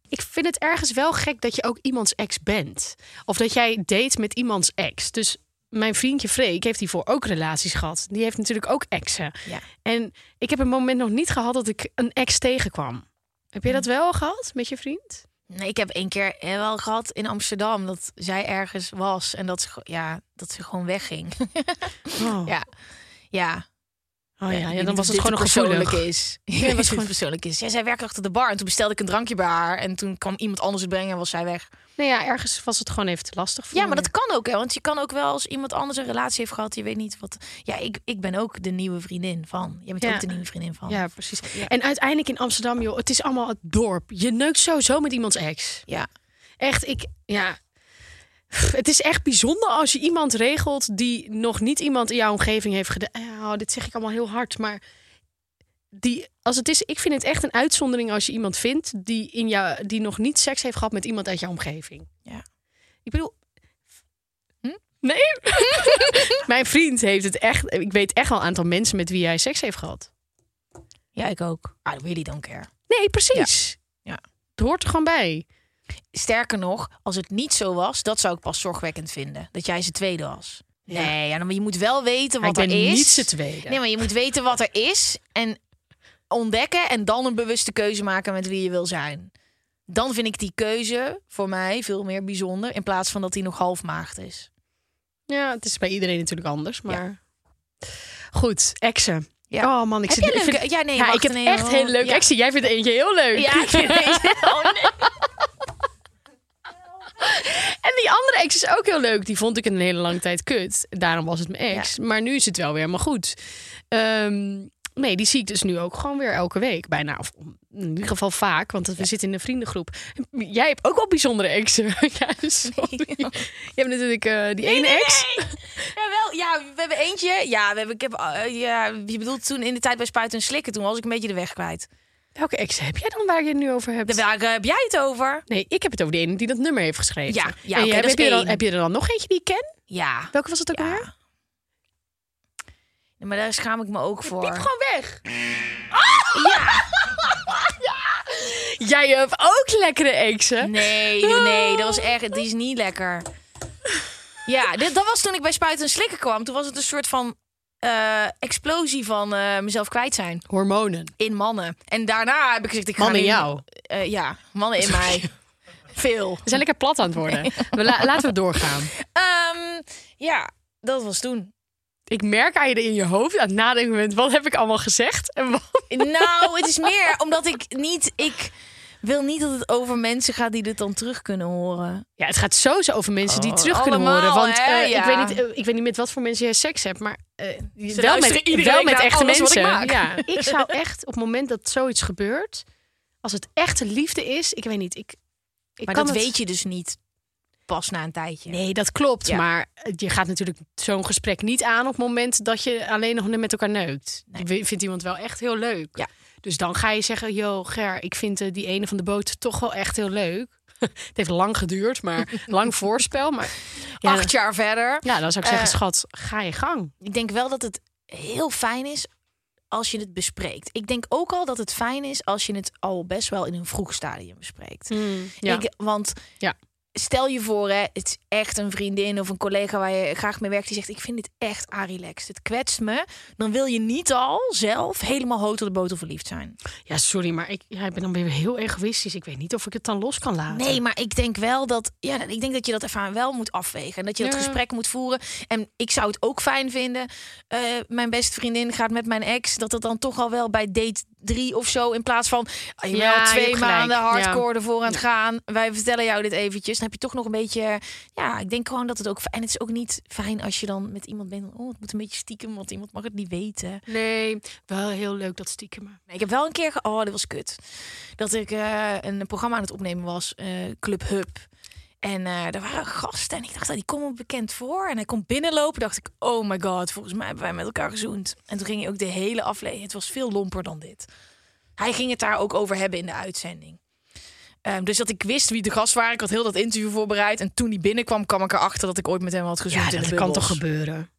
Ik vind het ergens wel gek dat je ook iemands ex bent. Of dat jij date met iemands ex. Dus mijn vriendje Freek heeft hiervoor ook relaties gehad. Die heeft natuurlijk ook exen. Ja. En ik heb een moment nog niet gehad dat ik een ex tegenkwam. Heb je Hm. dat wel gehad met je vriend? Nee, ik heb één keer eh, wel gehad in Amsterdam dat zij ergens was en dat ze, ge- ja, dat ze gewoon wegging. Oh ja, ja. Ja, Oh ja, Ik denk dan dat was het dit gewoon nog te persoonlijk gevoelig. is. Ja, was was gewoon- gewoon persoonlijk is. Ja, zij werkte achter de bar en toen bestelde ik een drankje bij haar en toen kwam iemand anders het brengen en was zij weg. Nee, Nou ja, ergens was het gewoon even te lastig voor Ja, maar me. dat kan ook wel, want je kan ook wel als iemand anders een relatie heeft gehad, je weet niet wat. Ja, ik, ik ben ook de nieuwe vriendin van. Jij bent Ja. ook de nieuwe vriendin van. Ja, precies. En uiteindelijk in Amsterdam, joh, het is allemaal het dorp. Je neukt sowieso met iemands ex. ja. Echt, ik, ja. Pff, Het is echt bijzonder als je iemand regelt die nog niet iemand in jouw omgeving heeft gedaan. Oh, dit zeg ik allemaal heel hard, maar die, als het is, ik vind het echt een uitzondering als je iemand vindt die, in jou, die nog niet seks heeft gehad met iemand uit jouw omgeving. Ja. Hm? Ik bedoel. Nee. Mijn vriend heeft het echt. Ik weet echt wel een aantal mensen met wie hij seks heeft gehad. Ja, ik ook. I really don't care. Nee, precies. Ja. Het hoort er gewoon bij. Sterker nog, als het niet zo was, dat zou ik pas zorgwekkend vinden. Dat jij zijn tweede was. Nee, ja, dan- maar je moet wel weten Maar wat ik ben er is. niet zijn tweede. Nee, maar je moet weten wat er is en ontdekken en dan een bewuste keuze maken met wie je wil zijn. Dan vind ik die keuze voor mij veel meer bijzonder in plaats van dat die nog half maagd is. Ja, het is bij iedereen natuurlijk anders, maar... Goed, exen. Ja. Oh man, ik Heb zit... jij ik leuke- ja, nee, ja, wacht, ik heb nee, echt oh, heel leuk ja. exen. Jij vindt eentje heel leuk. Ja, ik vind oh, nee. En die andere ex is ook heel leuk. Die vond ik een hele lange tijd kut. Daarom was het mijn ex. Maar nu is het wel weer helemaal goed. Ehm, nee, die zie ik dus nu ook gewoon weer elke week. Bijna, of in ieder geval vaak. Want we zitten in een vriendengroep. Jij hebt ook wel bijzondere exen. ja, sorry. Je hebt natuurlijk eh, die ene ex. Ja, wel, ja, we hebben eentje. Ja, we hebben, ik heb, eh, ja, je bedoelt toen in de tijd bij Spuiten en Slikken, toen was ik een beetje de weg kwijt. Welke ex heb jij dan waar je het nu over hebt? Daar waar, eh, heb jij het over? Nee, ik heb het over de ene die dat nummer heeft geschreven. Ja, ja, En oké, jij- dat is heb, je er dan, één. heb je er dan nog eentje die ik ken? Ja. Welke was het ook Ja. weer? Nee, maar daar schaam ik me ook voor. weg. Ah! Ja. Jij hebt ook lekkere exen. Nee, joh, nee, dat was echt, die is niet lekker. Ja, dit, dat was toen ik bij Spuiten en Slikken kwam. Toen was het een soort van eh, explosie van eh, mezelf kwijt zijn Hormonen. in mannen. En daarna heb ik gezegd, ik ga Mannen in nu- jou. eh, ja, mannen in mij. Veel. We zijn lekker plat aan het worden. We la- laten we doorgaan. Ehm, ja, dat was toen. Ik merk aan je in je hoofd aan het nadenken bent. Wat heb ik allemaal gezegd? En wat... Nou, het is meer omdat ik niet. Ik wil niet dat het over mensen gaat die dit dan terug kunnen horen. Ja, het gaat sowieso over mensen die Oh, het terug kunnen allemaal, horen. Want hè? eh, Ja. ik, weet niet, eh, ik weet niet met wat voor mensen jij seks hebt, maar eh, wel, luisteren met, iedere wel week met naar echte alles wat ik mensen. maak. ja, ik zou echt op het moment dat zoiets gebeurt, als het echte liefde is, ik weet niet, ik, ik maar kan dat het- weet je dus niet pas na een tijdje. Nee, dat klopt. Ja. Maar je gaat natuurlijk zo'n gesprek niet aan op het moment dat je alleen nog met elkaar neukt. Je wi- vindt iemand wel echt heel leuk. Ja. Dus dan ga je zeggen, yo Ger, ik vind eh, die ene van de boot toch wel echt heel leuk. Het heeft lang geduurd, maar lang voorspel. Maar ja, Acht jaar verder. ja, dan zou ik zeggen, Eh. schat, ga je gang. Ik denk wel dat het heel fijn is als je het bespreekt. Ik denk ook al dat het fijn is als je het al best wel in een vroeg stadium bespreekt. Hmm, ja. Ik- want Ja. stel je voor, hè, het is echt een vriendin of een collega waar je graag mee werkt, die zegt: Ik vind dit echt relaxed. Het kwetst me. Dan wil je niet al zelf helemaal hoog tot de boter verliefd zijn. ja, sorry, maar ik, ja, ik ben dan weer heel egoïstisch. Ik weet niet of ik het dan los kan laten. Nee, maar ik denk wel dat, ja, ik denk dat je dat ervan wel moet afwegen. En dat je dat Ja. gesprek moet voeren. En ik zou het ook fijn vinden. eh, mijn beste vriendin gaat met mijn ex. Dat dat dan toch al wel bij date drie of zo. In plaats van ah, je bent Ja, al je twee hebt gelijk. maanden hardcore Ja. ervoor aan het gaan. Wij vertellen jou dit eventjes. Dan heb je toch nog een beetje. Ja, ik denk gewoon dat het ook. En het is ook niet fijn als je dan met iemand bent. Oh, het moet een beetje stiekem, want iemand mag het niet weten. nee, wel heel leuk dat stiekem. Nee, Ik heb wel een keer, ge- oh, dat was kut. Dat ik eh, een programma aan het opnemen was, eh, Club Hub. En eh er waren gasten en ik dacht, ah, die komen bekend voor. En hij komt binnenlopen, dacht ik, oh my god, volgens mij hebben wij met elkaar gezoend. En toen ging hij ook de hele aflevering, het was veel lomper dan dit. Hij ging het daar ook over hebben in de uitzending. Ehm, dus dat ik wist wie de gast waren, ik had heel dat interview voorbereid. En toen hij binnenkwam, kwam ik erachter dat ik ooit met hem had gezoend Ja, in de dat kan toch bubbels. gebeuren.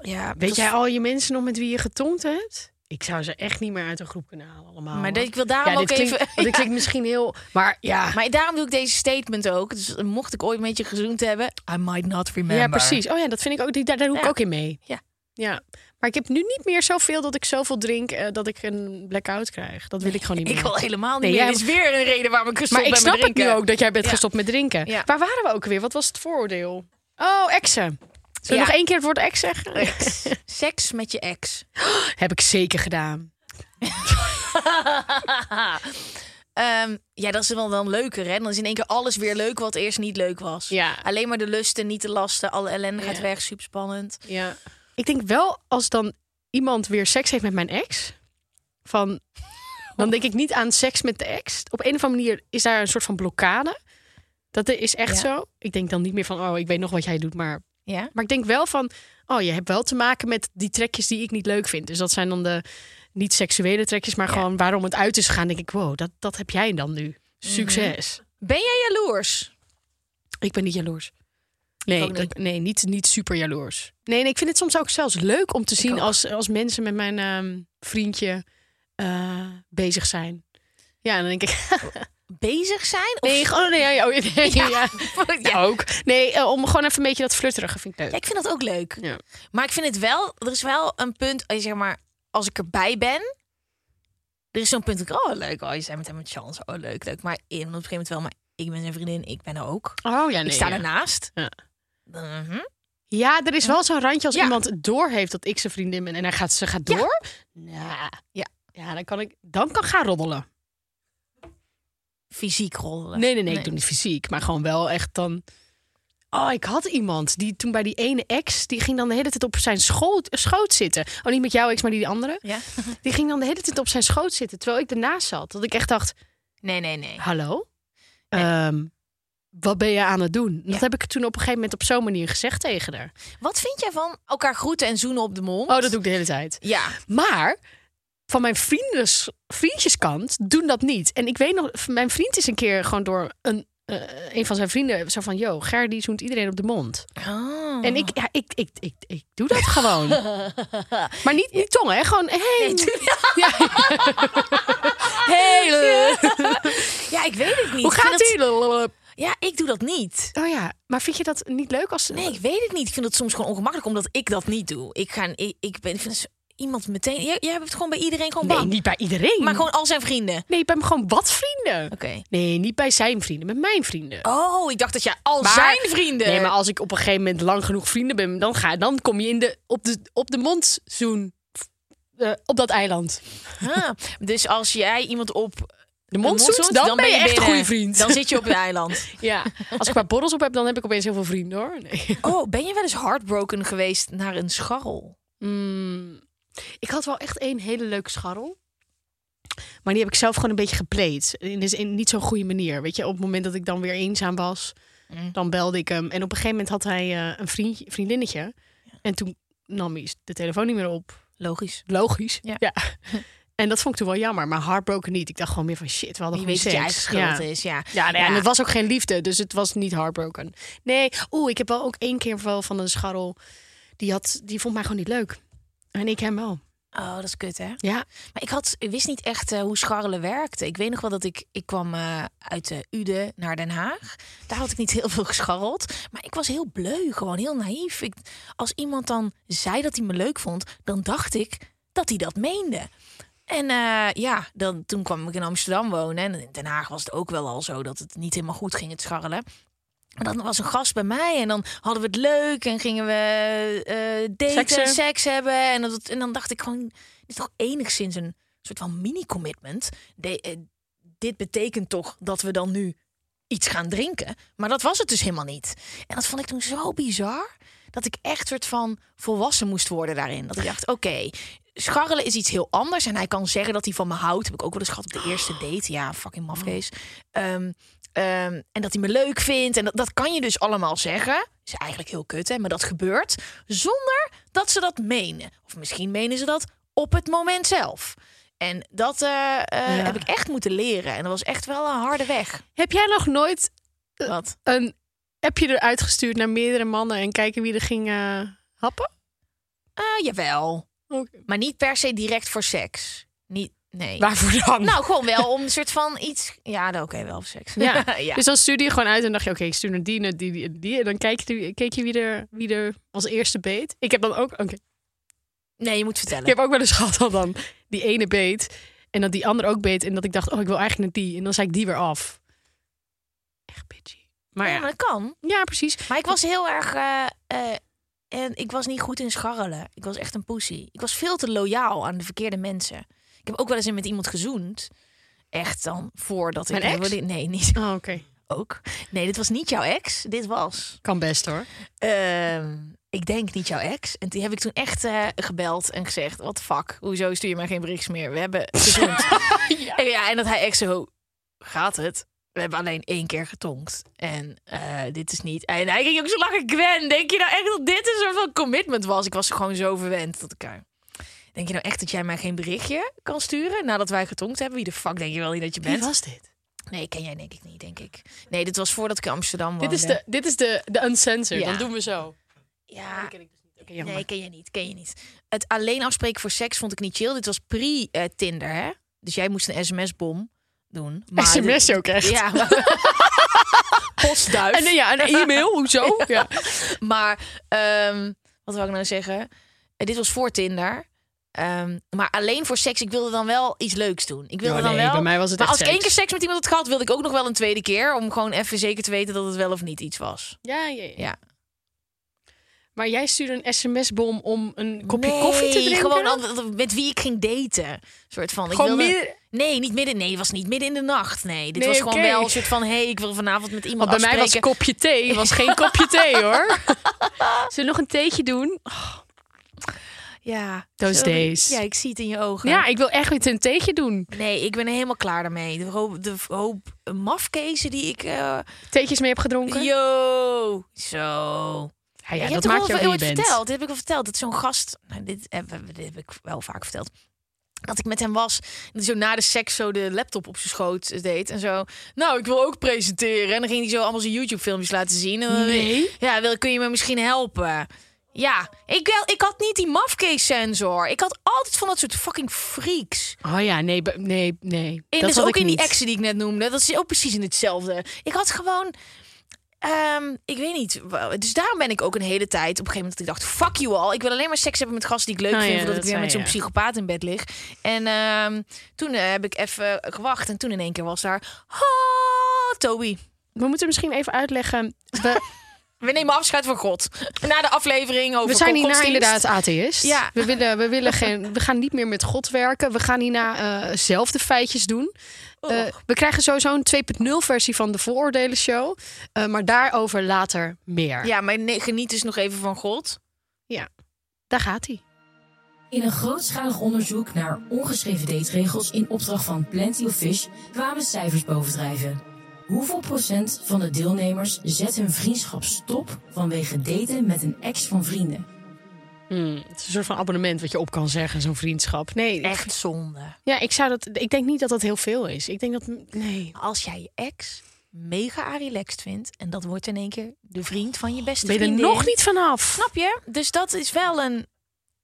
Ja, het Weet was- jij al je mensen nog met wie je getongd hebt? Ik zou ze echt niet meer uit een groep kunnen halen allemaal. Maar hoor. dat- ik wil daarom ja, ook dit klinkt, even... want dit klinkt misschien heel... Maar ja, Maar daarom doe ik deze statement ook. Dus mocht ik ooit met je gezoend hebben, I might not remember. ja precies. Oh ja, dat vind ik ook, die, daar, daar doe ik Ja. ook in mee. Ja. ja. Maar ik heb nu niet meer zoveel dat ik zoveel drink eh, dat ik een blackout krijg. Dat wil ik gewoon niet meer. Ik wil helemaal niet Nee, meer. jij- Dat is weer een reden waarom ik gestopt maar ik ben snap met het nu drinken. ook dat jij bent Ja. gestopt met drinken. Ja. Waar waren we ook weer? Wat was het vooroordeel? Oh, exen. Zullen we Ja. nog één keer het woord ex zeggen? Seks met je ex. Heb ik zeker gedaan. Ehm, ja, dat is wel dan leuker, hè? Dan is in één keer alles weer leuk wat eerst niet leuk was. Ja. Alleen maar de lusten, niet de lasten. Alle ellende gaat weg. Super spannend. Ja. Ik denk wel als dan iemand weer seks heeft met mijn ex, van, dan denk ik niet aan seks met de ex. Op een of andere manier is daar een soort van blokkade. Dat is echt zo. Ik denk dan niet meer van, oh, ik weet nog wat jij doet, maar. Ja. Maar ik denk wel van, oh, je hebt wel te maken met die trekjes die ik niet leuk vind. Dus dat zijn dan de niet seksuele trekjes, maar gewoon waarom het uit is gegaan. Denk ik, wow, dat, dat heb jij dan nu. Succes. Ben jij jaloers? Ik ben niet jaloers. Nee, ook dat- niet. nee niet, niet super jaloers. Nee, nee, ik vind het soms ook zelfs leuk om te zien ook. als, als mensen met mijn ehm, vriendje eh, bezig zijn. Ja, en dan denk ik. Bezig zijn? Of... Nee, gewoon. Nee, ja, ja, oh, nee, ja. Ja. Ja, ook. Nee, eh, om gewoon even een beetje dat flutterige vind ik leuk. Ja, ik vind dat ook leuk. Ja. Maar ik vind het wel, er is wel een punt, eh, zeg maar, als ik erbij ben. Er is zo'n punt, dat ik, oh leuk, oh je bent met hem met chance, oh leuk, leuk. Maar in, op een gegeven moment wel, maar ik ben zijn vriendin, ik ben er ook. Oh ja, nee. ik sta ja. ernaast. Ja. Mhm. Ja, er is wel zo'n randje als Ja. iemand doorheeft dat ik zijn vriendin ben en hij gaat, ze gaat Ja. door. Ja. Ja. ja, dan kan ik dan kan ik gaan roddelen. Fysiek rollen. Nee, nee, nee, ik doe niet fysiek, maar gewoon wel echt dan. Oh, ik had iemand die toen bij die ene ex, die ging dan de hele tijd op zijn schoot, schoot zitten. Oh, niet met jouw ex, maar die, die andere. Ja? Die ging dan de hele tijd op zijn schoot zitten, terwijl ik ernaast zat. Dat ik echt dacht, Nee, nee, nee. hallo, Ehm, wat ben je aan het doen? Dat heb ik toen op een gegeven moment op zo'n manier gezegd tegen haar. Wat vind jij van elkaar groeten en zoenen op de mond? Oh, dat doe ik de hele tijd. Ja. Maar van mijn vriendens, vriendjeskant doen dat niet. En ik weet nog, mijn vriend is een keer gewoon door een, eh, een van zijn vrienden zo van... Yo, Ger die zoent iedereen op de mond. En ik, ja, ik, ik, ik, ik doe dat gewoon. maar niet, niet tongen, hè? Gewoon, hey. Ja, Hele. ja, ik weet het niet. hoe Ik vind gaat dat- ie? Ja, ik doe dat niet. Oh ja, maar vind je dat niet leuk als... Nee, ik weet het niet. Ik vind het soms gewoon ongemakkelijk omdat ik dat niet doe. Ik ga, ik, ik ben, ik vind het zo- iemand meteen. Jij, jij hebt het gewoon bij iedereen gewoon Nee, bang. niet bij iedereen. Maar gewoon al zijn vrienden. Oké. Nee, bij gewoon wat vrienden. Nee, niet bij zijn vrienden, met mijn vrienden. Oh, ik dacht dat jij al Maar- zijn vrienden. Nee, maar als ik op een gegeven moment lang genoeg vrienden ben, dan, ga, dan kom je in de, op, de, op de mondzoen. eh, op dat eiland. Ah, dus als jij iemand op de mond zoet, dan, ben je echt een binnen. goede vriend. Dan zit je op het eiland. Ja, als ik maar borrels op heb, dan heb ik opeens heel veel vrienden hoor. Nee. Oh, ben je wel eens heartbroken geweest naar een scharrel? Mm, ik had wel echt één hele leuke scharrel. Maar die heb ik zelf gewoon een beetje gepleed. In, dus in niet zo'n goede manier. Weet je, op het moment dat ik dan weer eenzaam was, Mm. dan belde ik hem. En op een gegeven moment had hij eh, een vriendje, vriendinnetje. En toen nam hij de telefoon niet meer op. Logisch. Logisch. Ja. En dat vond ik toen wel jammer, maar heartbroken niet. Ik dacht gewoon meer van shit, we hadden Je gewoon weet dat je eigen seks. schuld Ja. is, ja. Ja, nou ja, en het was ook geen liefde, dus het was niet heartbroken. Nee, oeh, ik heb wel ook één keer wel van een scharrel. Die, had, die vond mij gewoon niet leuk. En ik hem wel. Oh, dat is kut, hè? Ja. Maar ik, had, ik wist niet echt eh, hoe scharrelen werkte. Ik weet nog wel dat ik, ik kwam eh, uit eh Uden naar Den Haag. Daar had ik niet heel veel gescharreld. Maar ik was heel bleu, gewoon heel naïef. Ik, als iemand dan zei dat hij me leuk vond, dan dacht ik dat hij dat meende. En eh, ja, dan, toen kwam ik in Amsterdam wonen. En in Den Haag was het ook wel al zo dat het niet helemaal goed ging, het scharrelen. En dan was een gast bij mij en dan hadden we het leuk en gingen we eh daten, Seksen. seks, hebben. En, dat, en dan dacht ik gewoon, dit is toch enigszins een soort van mini-commitment. De- eh, dit betekent toch dat we dan nu iets gaan drinken. Maar dat was het dus helemaal niet. En dat vond ik toen zo bizar dat ik echt soort van volwassen moest worden daarin. Dat ik dacht, oké, scharrelen is iets heel anders. En hij kan zeggen dat hij van me houdt. Heb ik ook wel eens gehad op de eerste date. Ja, fucking mafkees. Ehm, ehm, en dat hij me leuk vindt. En dat, dat kan je dus allemaal zeggen. Is eigenlijk heel kut, hè? Maar dat gebeurt zonder dat ze dat menen. Of misschien menen ze dat op het moment zelf. En dat eh, eh, heb ik echt moeten leren. En dat was echt wel een harde weg. Heb jij nog nooit Wat? een appje eruit gestuurd naar meerdere mannen en kijken wie er ging eh, happen? Eh, jawel. Maar niet per se direct voor seks. Niet, nee. Waarvoor dan? Nou, gewoon wel om een soort van iets... Ja, nou, oké, wel voor seks. ja. ja. Dus dan stuurde je gewoon uit en dacht je, oké, ik stuur naar die, naar die, die, en die. En dan kijk je, keek je wie er, wie er als eerste beet. Ik heb dan ook, oké, Nee, je moet vertellen. Ik heb ook wel eens gehad dat dan die ene beet en dat die ander ook beet en dat ik dacht, oh, ik wil eigenlijk naar die en dan zei ik die weer af. Echt bitchy. Maar Ja, ja, maar dat kan. ja, precies. Maar ik was heel erg... eh, eh, en ik was niet goed in scharrelen. Ik was echt een pussy. Ik was veel te loyaal aan de verkeerde mensen. Ik heb ook wel eens met iemand gezoend. Echt dan, voordat ik... Mijn ex? Nee, niet Oh, oké. ook. Nee, dit was niet jouw ex. Dit was... Kan best hoor. Ehm, ik denk niet jouw ex. En die heb ik toen echt eh, gebeld en gezegd: Wat fuck, hoezo stuur je mij geen berichts meer? We hebben gezoend. en, ja, en dat hij echt zo: Gaat het? We hebben alleen één keer getonkt. En eh, dit is niet. En hij ging ook zo lachen. Gwen, denk je nou echt dat dit een soort van commitment was? Ik was gewoon zo verwend dat ik. eh, Denk je nou echt dat jij mij geen berichtje kan sturen nadat wij getonkt hebben? Wie de fuck denk je wel niet dat je Wie bent? was dit? Nee, ken jij denk ik niet, denk ik. Nee, dit was voordat ik in Amsterdam was. Dit is de, dit is de, de uncensored. Ja. Ah. Dan doen we zo. dus Ja, Oké, jammer. Nee, ken je niet, ken je niet. Het alleen afspreken voor seks vond ik niet chill. Dit was pre-Tinder, hè? Dus jij moest een sms-bom doen. Maar SMS ook echt. Ja. maar- Postduif. En eh, ja, een e-mail, hoezo? Ja. Maar, ehm, wat wil ik nou zeggen? Eh, dit was voor Tinder. Ehm, maar alleen voor seks, ik wilde dan wel iets leuks doen. Ik wilde Ja, dan Oh, nee, wel. bij mij was het maar echt als ik één seks. keer seks met iemand had gehad, wilde ik ook nog wel een tweede keer. Om gewoon even zeker te weten dat het wel of niet iets was. Ja, ja, ja. Ja. Maar jij stuurde een sms-bom om een kopje koffie te Nee, drinken? Gewoon al- met wie ik ging daten. Soort van. Ik Gewoon wilde... midden- Nee, niet midden. Nee, het was niet midden in de nacht. Nee, dit Nee, was gewoon oké. wel een soort van. Hé, hey, ik wil vanavond met iemand Want bij mij was afspreken. kopje thee, was geen kopje thee hoor. Zullen we nog een theetje doen? Ja, Those sorry. days. Ja, ik zie het in je ogen. Ja, ik wil echt weer een theetje doen. Nee, ik ben er helemaal klaar daarmee. De hoop, de hoop mafkezen die ik. eh, Theetjes mee heb gedronken? Yo, zo. Ja, ja, ik dat heb maakt toch je wel wie je ooit bent. verteld. Dit heb ik al verteld. Dat zo'n gast. Nou, dit, heb, dit heb ik wel vaak verteld. Dat ik met hem was. En zo na de seks zo de laptop op zijn schoot deed. En zo. Nou, ik wil ook presenteren. En dan ging hij zo allemaal zijn YouTube-filmpjes laten zien. En dan- Nee. Ja, wil, kun je me misschien helpen? Ja, ik, wel, ik had niet die mafkees-sensor. Ik had altijd van dat soort fucking freaks. Oh ja, nee, be- nee, nee. En dat dus had ook ik in niet. die exen die ik net noemde. Dat is ook precies in hetzelfde. Ik had gewoon. ehm, ik weet niet. wa- Dus daarom ben ik ook een hele tijd op een gegeven moment dat ik dacht: fuck you al. Ik wil alleen maar seks hebben met gasten die ik leuk Oh ja, vind. Voordat dat ik weer zei met zo'n je. psychopaat in bed lig. En ehm, toen eh, heb ik even gewacht. En toen in één keer was daar. Ha, Toby. We moeten misschien even uitleggen. We, We nemen afscheid van God. Na de aflevering over We zijn hierna godsdienst. inderdaad atheïst. Ja. We, willen, we, willen geen, we gaan niet meer met God werken. We gaan hierna eh, zelf de feitjes doen. Eh, we krijgen sowieso een 2.0 versie van de Vooroordelen Show. Eh, maar daarover later meer. Ja, maar nee, geniet dus nog even van God. Ja. Daar gaat hij. In een grootschalig onderzoek naar ongeschreven dateregels in opdracht van Plenty of Fish kwamen cijfers bovendrijven. Hoeveel procent van de deelnemers zet hun vriendschap stop vanwege daten met een ex van vrienden? Het is een soort van abonnement wat je op kan zeggen, zo'n vriendschap. Nee, ik- Echt zonde. Ja, ik, zou dat, ik denk niet dat dat heel veel is. Ik denk dat. Nee. Als jij je ex mega relaxed vindt en dat wordt in één keer de vriend van je beste Oh, Ben je er vriendin. nog niet vanaf? Snap je? Dus dat is wel een,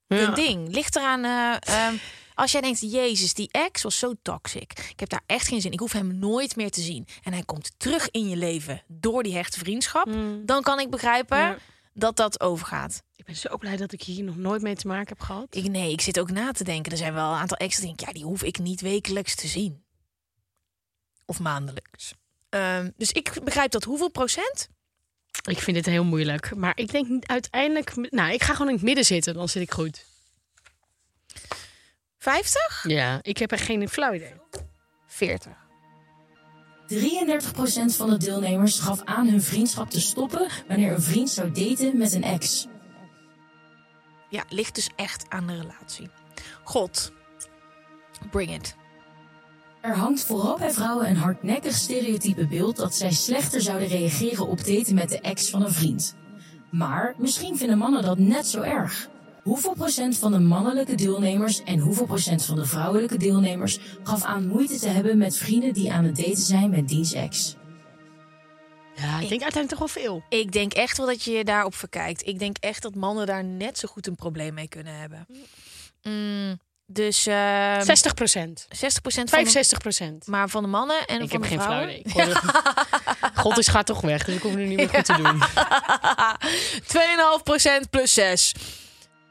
Ja. een ding. Ligt eraan. eh, ehm, als jij denkt, Jezus, die ex was zo toxic. Ik heb daar echt geen zin. in. Ik hoef hem nooit meer te zien. En hij komt terug in je leven door die hechte vriendschap. Hmm. Dan kan ik begrijpen dat dat overgaat. Ik ben zo blij dat ik hier nog nooit mee te maken heb gehad. Ik, nee, ik zit ook na te denken. Er zijn wel een aantal extra dingen. Ja, die hoef ik niet wekelijks te zien. Of maandelijks. Ehm, dus ik begrijp dat hoeveel procent? Ik vind dit heel moeilijk. Maar ik denk niet- uiteindelijk. Nou, ik ga gewoon in het midden zitten, dan zit ik goed. 50? Ja, ik heb er geen flauw idee. 40. 33% van de deelnemers gaf aan hun vriendschap te stoppen wanneer een vriend zou daten met een ex. Ja, ligt dus echt aan de relatie. God, bring it. Er hangt vooral bij vrouwen een hardnekkig stereotype beeld dat zij slechter zouden reageren op daten met de ex van een vriend. Maar misschien vinden mannen dat net zo erg. Hoeveel procent van de mannelijke deelnemers en hoeveel procent van de vrouwelijke deelnemers gaf aan moeite te hebben met vrienden die aan het daten zijn met diens ex? Ja, ik denk uiteindelijk toch wel veel. Ik denk echt wel dat je je daarop verkijkt. Ik denk echt dat mannen daar net zo goed een probleem mee kunnen hebben. Mm, dus ehm 60 procent. 60 procent van, de- 65 procent. maar van de mannen en Ik van heb de geen flauw vrouwen. idee. Ik hoor het- God is gaat toch weg, dus ik hoef nu niet meer goed te doen. 2,5 procent plus 6.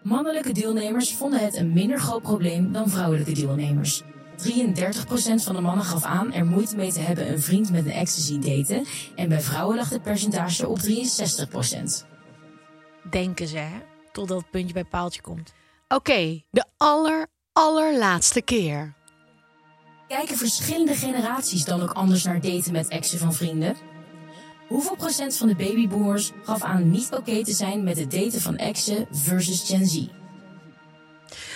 Mannelijke deelnemers vonden het een minder groot probleem dan vrouwelijke deelnemers. 33% van de mannen gaf aan er moeite mee te hebben een vriend met een ex te zien daten en bij vrouwen lag het percentage op 63%. Denken ze, hè? Totdat het puntje bij paaltje komt. Oké, de aller, allerlaatste keer. Kijken verschillende generaties dan ook anders naar daten met exen van vrienden? Hoeveel procent van de babyboomers gaf aan niet oké te zijn met het daten van exen versus Gen Z?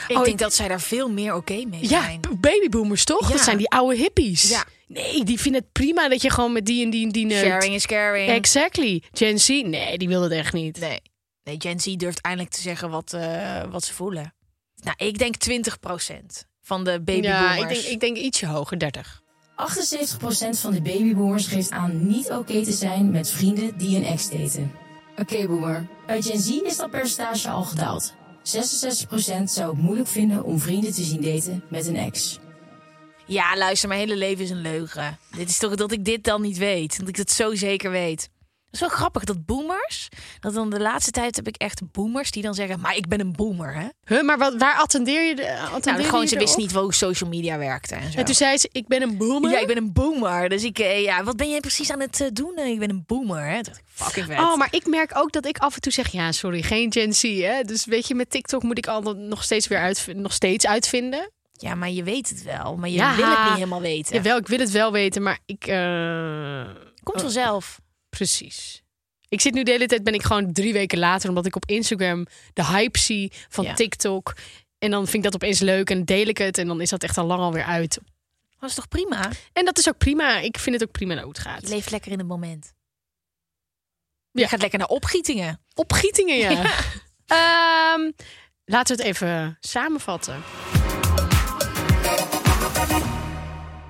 Ik Oh, denk ik- dat zij daar veel meer oké mee Ja, zijn. b- babyboomers toch? Ja. Dat zijn die oude hippies. Ja. Nee, die vinden het prima dat je gewoon met die en die en die neukt. Sharing is caring. Exactly. Gen Z, nee, die wil dat echt niet. Nee. Nee, Gen Z durft eindelijk te zeggen wat, eh, wat ze voelen. Nou, ik denk 20% van de babyboomers. ja, ik denk, ik denk ietsje hoger, 30. 78% van de babyboomers geeft aan niet oké te zijn met vrienden die een ex daten. Oké boomer, bij Gen Z is dat percentage al gedaald. 66% zou het moeilijk vinden om vrienden te zien daten met een ex. Ja, luister, mijn hele leven is een leugen. Dit is toch dat ik dit dan niet weet. Dat ik het zo zeker weet. Dat is wel grappig, dat boomers... Dat dan de laatste tijd heb ik echt boomers die dan zeggen... Maar ik ben een boomer, hè? Huh, maar wat, waar attendeer je de eh, attendeer Nou, gewoon, je ze wist erop? niet hoe social media werkte en zo. En toen zei ze, ik ben een boomer. ja, ik ben een boomer. Dus ik, eh, ja, wat ben jij precies aan het eh, doen? Eh, Ik ben een boomer, hè? Toen dacht ik, fucking vet. Oh, maar ik merk ook dat ik af en toe zeg, ja, sorry, geen Gen Z. Hè? Dus weet je, met TikTok moet ik al dat nog steeds weer uitv- nog steeds uitvinden. Ja, maar je weet het wel. Maar je Ja. wil het niet helemaal weten. Jawel, ik wil het wel weten, maar ik... eh, Komt vanzelf. Precies. Ik zit nu de hele tijd, ben ik gewoon drie weken later, omdat ik op Instagram de hype zie van Ja. TikTok. En dan vind ik dat opeens leuk en deel ik het. En dan is dat echt al lang alweer uit. Dat is toch prima? En dat is ook prima. Ik vind het ook prima hoe het Je gaat. leeft lekker in het moment. Ja. Je gaat lekker naar opgietingen. Opgietingen, ja. Ehm, laten we het even samenvatten.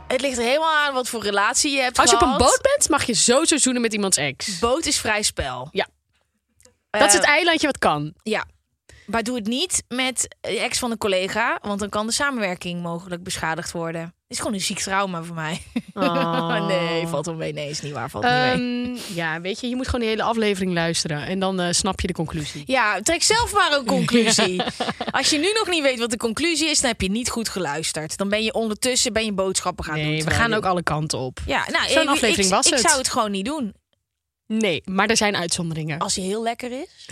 Het ligt er helemaal aan wat voor relatie je hebt Als je op een gehad. boot bent, mag je sowieso zoenen met iemands ex. Boot is vrij spel. Ja. dat is Eh, het eilandje wat kan. Ja. Maar doe het niet met de ex van een collega, want dan kan de samenwerking mogelijk beschadigd worden. Het is gewoon een ziek trauma voor mij. Oh. nee, valt wel mee. Nee, is niet waar. Valt niet mee. Ehm, ja, weet je, je moet gewoon die hele aflevering luisteren. En dan eh, snap je de conclusie. Ja, trek zelf maar een conclusie. Als je nu nog niet weet wat de conclusie is, dan heb je niet goed geluisterd. Dan ben je ondertussen ben je boodschappen gaan doen. Nee, we terwijl gaan je- ook alle kanten op. Ja, nou, Zo'n ik, aflevering ik, was ik het. zou het gewoon niet doen. Nee, maar er zijn uitzonderingen. Als hij heel lekker is.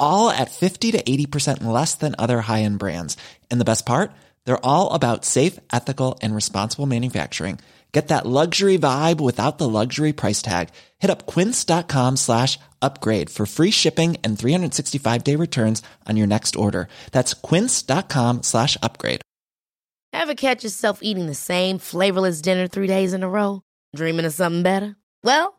all at 50 to 80% less than other high end brands. And the best part? They're all about safe, ethical, and responsible manufacturing. Get that luxury vibe without the luxury price tag. Hit up quince.com slash upgrade for free shipping and 365 day returns on your next order. That's quince.com slash upgrade. Ever catch yourself eating the same flavorless dinner three days in a row? Dreaming of something better? Well,